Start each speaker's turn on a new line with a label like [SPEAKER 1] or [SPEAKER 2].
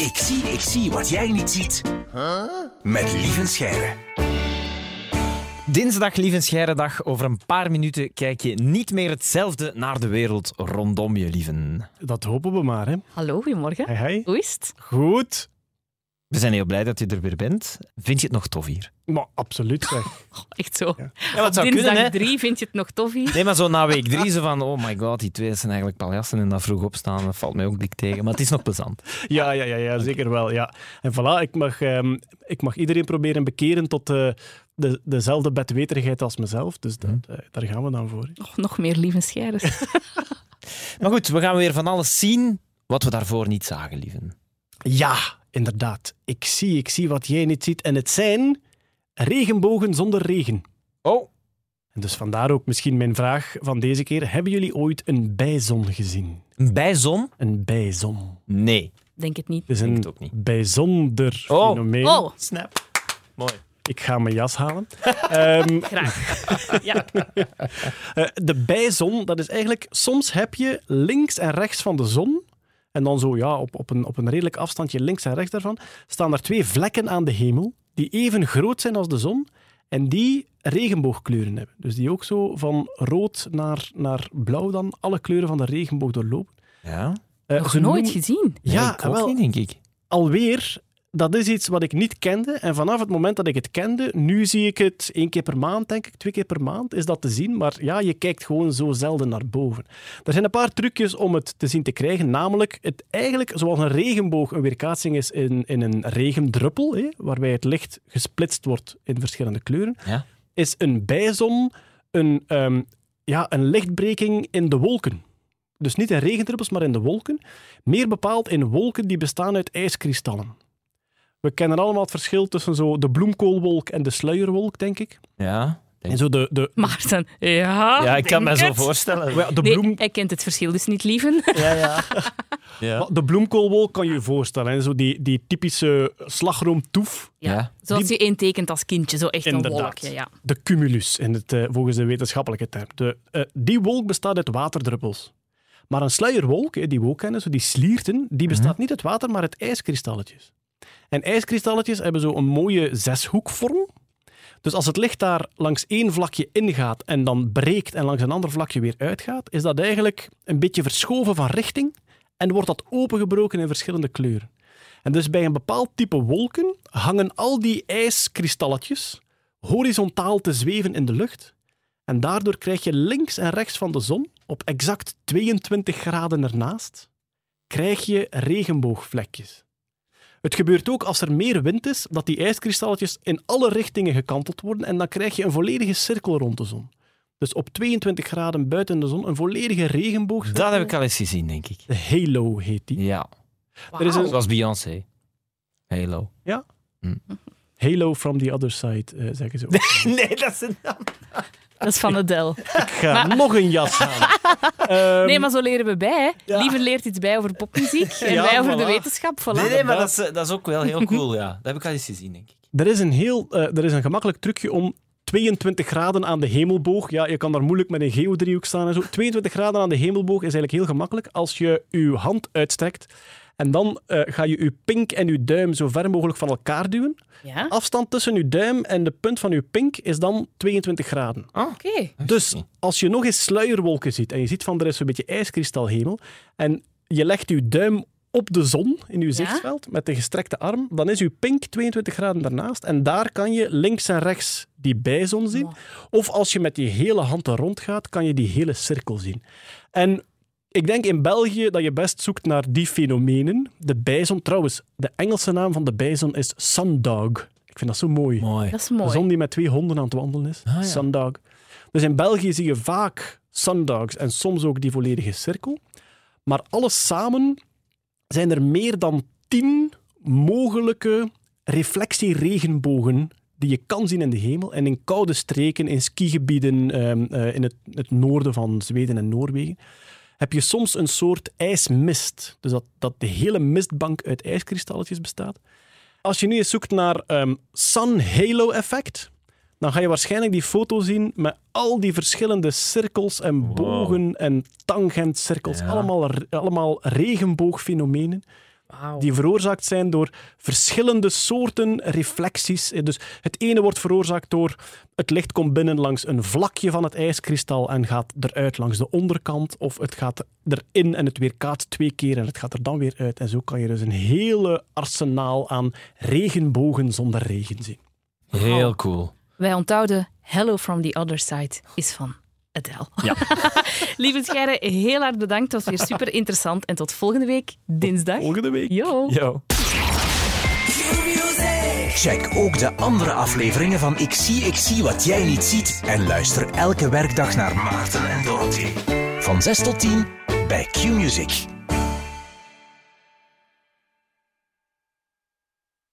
[SPEAKER 1] Ik zie, ik zie wat jij niet ziet. Met Lieven Scheire.
[SPEAKER 2] Dinsdag, lieve scheidendag. Over een paar minuten kijk je niet meer hetzelfde naar de wereld rondom je, lieven.
[SPEAKER 3] Dat hopen we maar, hè.
[SPEAKER 4] Hallo, goedemorgen.
[SPEAKER 3] Hey, hey.
[SPEAKER 4] Hoe is het?
[SPEAKER 3] Goed.
[SPEAKER 2] We zijn heel blij dat je er weer bent. Vind je het nog tof hier?
[SPEAKER 3] Maar absoluut, zeg.
[SPEAKER 4] Oh, echt zo.
[SPEAKER 2] Ja, wat
[SPEAKER 4] Dinsdag 3 vind je het nog tof hier?
[SPEAKER 2] Nee, maar zo na week drie, zo van, oh my god, die twee zijn eigenlijk paljassen en dat vroeg opstaan, dat valt mij ook dik tegen. Maar het is nog plezant.
[SPEAKER 3] Ja, ja, ja, ja zeker wel. Ja. En voilà, ik mag, ehm, ik mag iedereen proberen bekeren tot eh, de, dezelfde bedweterigheid als mezelf. Dus dat,
[SPEAKER 2] Hm.
[SPEAKER 3] eh, daar gaan we dan voor. hè.
[SPEAKER 4] Oh, nog meer lieve scheiders.
[SPEAKER 2] Maar goed, we gaan weer van alles zien wat we daarvoor niet zagen, lieven.
[SPEAKER 3] Ja, inderdaad. Ik zie, ik zie wat jij niet ziet. En het zijn regenbogen zonder regen.
[SPEAKER 2] Oh.
[SPEAKER 3] En dus vandaar ook misschien mijn vraag van deze keer. Hebben jullie ooit een bijzon gezien?
[SPEAKER 2] Een bijzon?
[SPEAKER 3] Een bijzon.
[SPEAKER 2] Nee.
[SPEAKER 4] Denk het niet.
[SPEAKER 3] Het is
[SPEAKER 2] Denk
[SPEAKER 3] een
[SPEAKER 2] het ook niet.
[SPEAKER 3] bijzonder
[SPEAKER 2] Oh.
[SPEAKER 3] fenomeen.
[SPEAKER 4] Oh,
[SPEAKER 2] Snap. Mooi.
[SPEAKER 3] Ik ga mijn jas halen. Ehm,
[SPEAKER 4] graag. Ja.
[SPEAKER 3] Eh, de bijzon, dat is eigenlijk... Soms heb je links en rechts van de zon, en dan zo ja, op, op, een, op een redelijk afstandje links en rechts daarvan, staan er twee vlekken aan de hemel die even groot zijn als de zon en die regenboogkleuren hebben. Dus die ook zo van rood naar, naar blauw dan alle kleuren van de regenboog doorlopen.
[SPEAKER 2] Ja?
[SPEAKER 3] Eh,
[SPEAKER 4] Nog
[SPEAKER 3] ze
[SPEAKER 4] nooit
[SPEAKER 3] noemen-
[SPEAKER 4] gezien.
[SPEAKER 2] Nee,
[SPEAKER 3] Ja,
[SPEAKER 2] ik ook
[SPEAKER 3] wel,
[SPEAKER 2] niet, denk ik.
[SPEAKER 3] alweer, dat is iets wat ik niet kende. En vanaf het moment dat ik het kende, nu zie ik het één keer per maand, denk ik, twee keer per maand is dat te zien. Maar ja, je kijkt gewoon zo zelden naar boven. Er zijn een paar trucjes om het te zien te krijgen. Namelijk, het eigenlijk zoals een regenboog een weerkaatsing is in, in een regendruppel, hè, waarbij het licht gesplitst wordt in verschillende kleuren,
[SPEAKER 2] Ja.
[SPEAKER 3] is een bijzon een, ehm, ja, een lichtbreking in de wolken. Dus niet in regendruppels, maar in de wolken. Meer bepaald in wolken die bestaan uit ijskristallen. We kennen allemaal het verschil tussen zo de bloemkoolwolk en de sluierwolk, denk ik.
[SPEAKER 2] Ja. Denk-
[SPEAKER 3] En zo de, de, Oh
[SPEAKER 4] Maarten, ja.
[SPEAKER 2] Ja, ik kan me
[SPEAKER 4] denk
[SPEAKER 2] zo
[SPEAKER 4] het.
[SPEAKER 2] voorstellen.
[SPEAKER 3] ja, de,
[SPEAKER 4] Nee,
[SPEAKER 3] bloem,
[SPEAKER 4] hij kent het verschil dus niet, lieven.
[SPEAKER 2] Ja, ja. ja.
[SPEAKER 3] de bloemkoolwolk kan je je voorstellen. hè. Zo die, die typische slagroomtoef,
[SPEAKER 4] Ja.
[SPEAKER 2] Ja.
[SPEAKER 4] Zoals
[SPEAKER 3] Die-
[SPEAKER 4] je één tekent als kindje, zo echt
[SPEAKER 3] Inderdaad.
[SPEAKER 4] een wolkje. Ja.
[SPEAKER 3] de cumulus, in het, eh, volgens de wetenschappelijke term. De, eh, die wolk bestaat uit waterdruppels. Maar een sluierwolk, hè, die we ook kennen, zo die slierten, die bestaat niet uit water, maar uit ijskristalletjes. En ijskristalletjes hebben zo een mooie zeshoekvorm. Dus als het licht daar langs één vlakje ingaat en dan breekt en langs een ander vlakje weer uitgaat, is dat eigenlijk een beetje verschoven van richting en wordt dat opengebroken in verschillende kleuren. En dus bij een bepaald type wolken hangen al die ijskristalletjes horizontaal te zweven in de lucht. En daardoor krijg je links en rechts van de zon, op exact 22 graden ernaast, krijg je regenboogvlekjes. Het gebeurt ook als er meer wind is, dat die ijskristalletjes in alle richtingen gekanteld worden en dan krijg je een volledige cirkel rond de zon. Dus op 22 graden buiten de zon een volledige regenboog.
[SPEAKER 2] Dat heb ik al eens gezien, denk ik.
[SPEAKER 3] De halo heet die.
[SPEAKER 2] Ja.
[SPEAKER 3] Er is een-
[SPEAKER 2] Zoals Beyoncé. Halo.
[SPEAKER 3] Halo from the other side, eh, zeggen ze ook.
[SPEAKER 2] Nee, dat is een naam.
[SPEAKER 4] Dat is van Adele.
[SPEAKER 3] Ik ga nog een jas aan. Ehm,
[SPEAKER 4] Nee, maar zo leren we bij. hè.
[SPEAKER 3] Ja.
[SPEAKER 4] Lieven leert iets bij over popmuziek en
[SPEAKER 3] Ja,
[SPEAKER 4] wij over de
[SPEAKER 3] voilà.
[SPEAKER 4] wetenschap. Voilà.
[SPEAKER 2] Nee, nee, maar dat is, eh, dat is ook wel heel cool, ja. Dat heb ik al eens gezien, denk ik.
[SPEAKER 3] Er is een heel eh, er is een gemakkelijk trucje om 22 graden aan de hemelboog. Ja, je kan daar moeilijk met een geodriehoek staan en zo. 22 graden aan de hemelboog is eigenlijk heel gemakkelijk als je je hand uitstrekt. En dan eh, ga je je pink en je duim zo ver mogelijk van elkaar duwen.
[SPEAKER 4] Ja,
[SPEAKER 3] Afstand tussen je duim en de punt van je pink is dan 22 graden.
[SPEAKER 4] oké.
[SPEAKER 2] Hm.
[SPEAKER 3] Dus als je nog eens sluierwolken ziet en je ziet van er is een beetje ijskristalhemel en je legt je duim op de zon in je zichtveld met de gestrekte arm, dan is je pink 22 graden daarnaast en daar kan je links en rechts die bijzon zien.
[SPEAKER 4] Wow.
[SPEAKER 3] Of als je met die hele hand er rond gaat, kan je die hele cirkel zien. En ik denk in België dat je best zoekt naar die fenomenen. De bijzon, trouwens, de Engelse naam van de bijzon is sundog. Ik vind dat zo mooi.
[SPEAKER 2] Mooi.
[SPEAKER 4] Dat is mooi.
[SPEAKER 3] De zon die met twee honden aan het wandelen is.
[SPEAKER 2] Ah, ja.
[SPEAKER 3] Sundog. Dus in België zie je vaak sundogs en soms ook die volledige cirkel. Maar alles samen zijn er meer dan tien mogelijke reflectieregenbogen die je kan zien in de hemel. En in koude streken, in skigebieden, ehm, eh, in het, het noorden van Zweden en Noorwegen, heb je soms een soort ijsmist. Dus dat, dat de hele mistbank uit ijskristalletjes bestaat. Als je nu eens zoekt naar ehm, Sun Halo effect, dan ga je waarschijnlijk die foto zien met al die verschillende cirkels en bogen en tangentcirkels.
[SPEAKER 2] Ja.
[SPEAKER 3] Allemaal, re- allemaal regenboogfenomenen.
[SPEAKER 2] Wauw.
[SPEAKER 3] die veroorzaakt zijn door verschillende soorten reflecties. Eh, Dus het ene wordt veroorzaakt door het licht komt binnen langs een vlakje van het ijskristal en gaat eruit langs de onderkant, of het gaat erin en het weerkaatst twee keer en het gaat er dan weer uit. En zo kan je dus een hele arsenaal aan regenbogen zonder regen zien.
[SPEAKER 2] Heel cool.
[SPEAKER 4] Wij onthouden Hello from the Other Side is van Adele.
[SPEAKER 2] Ja.
[SPEAKER 4] Lieve Scheire, heel hard bedankt. Het was weer super interessant. En tot volgende week, dinsdag.
[SPEAKER 3] Volgende week.
[SPEAKER 4] Yo.
[SPEAKER 3] Yo.
[SPEAKER 1] Check ook de andere afleveringen van Ik zie, ik zie wat jij niet ziet en luister elke werkdag naar Maarten en Dorothy. Van 6 tot 10 bij Q-Music.